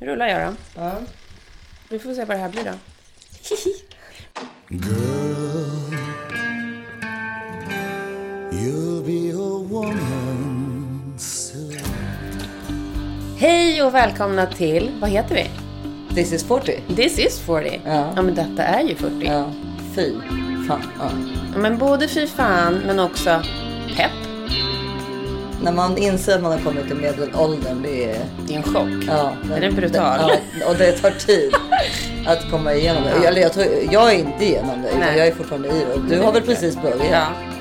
Nu rullar jag då. Ja. Vi får se vad det här blir då. Girl, you'll be a woman soon. Hej och välkomna till, vad heter vi? This is 40. This is 40. Ja. men detta är ju 40. Ja. Fy fan. Ja. Men både fy fan, men också pepp. När man inser att man har kommit till medelåldern, det är... Det är en chock. Ja, Den är brutal. ja, och det tar tid att komma igenom det. Eller jag, tror, jag är inte igenom det, utan Nej. jag är fortfarande i det. Du har väl precis börjat? Ja.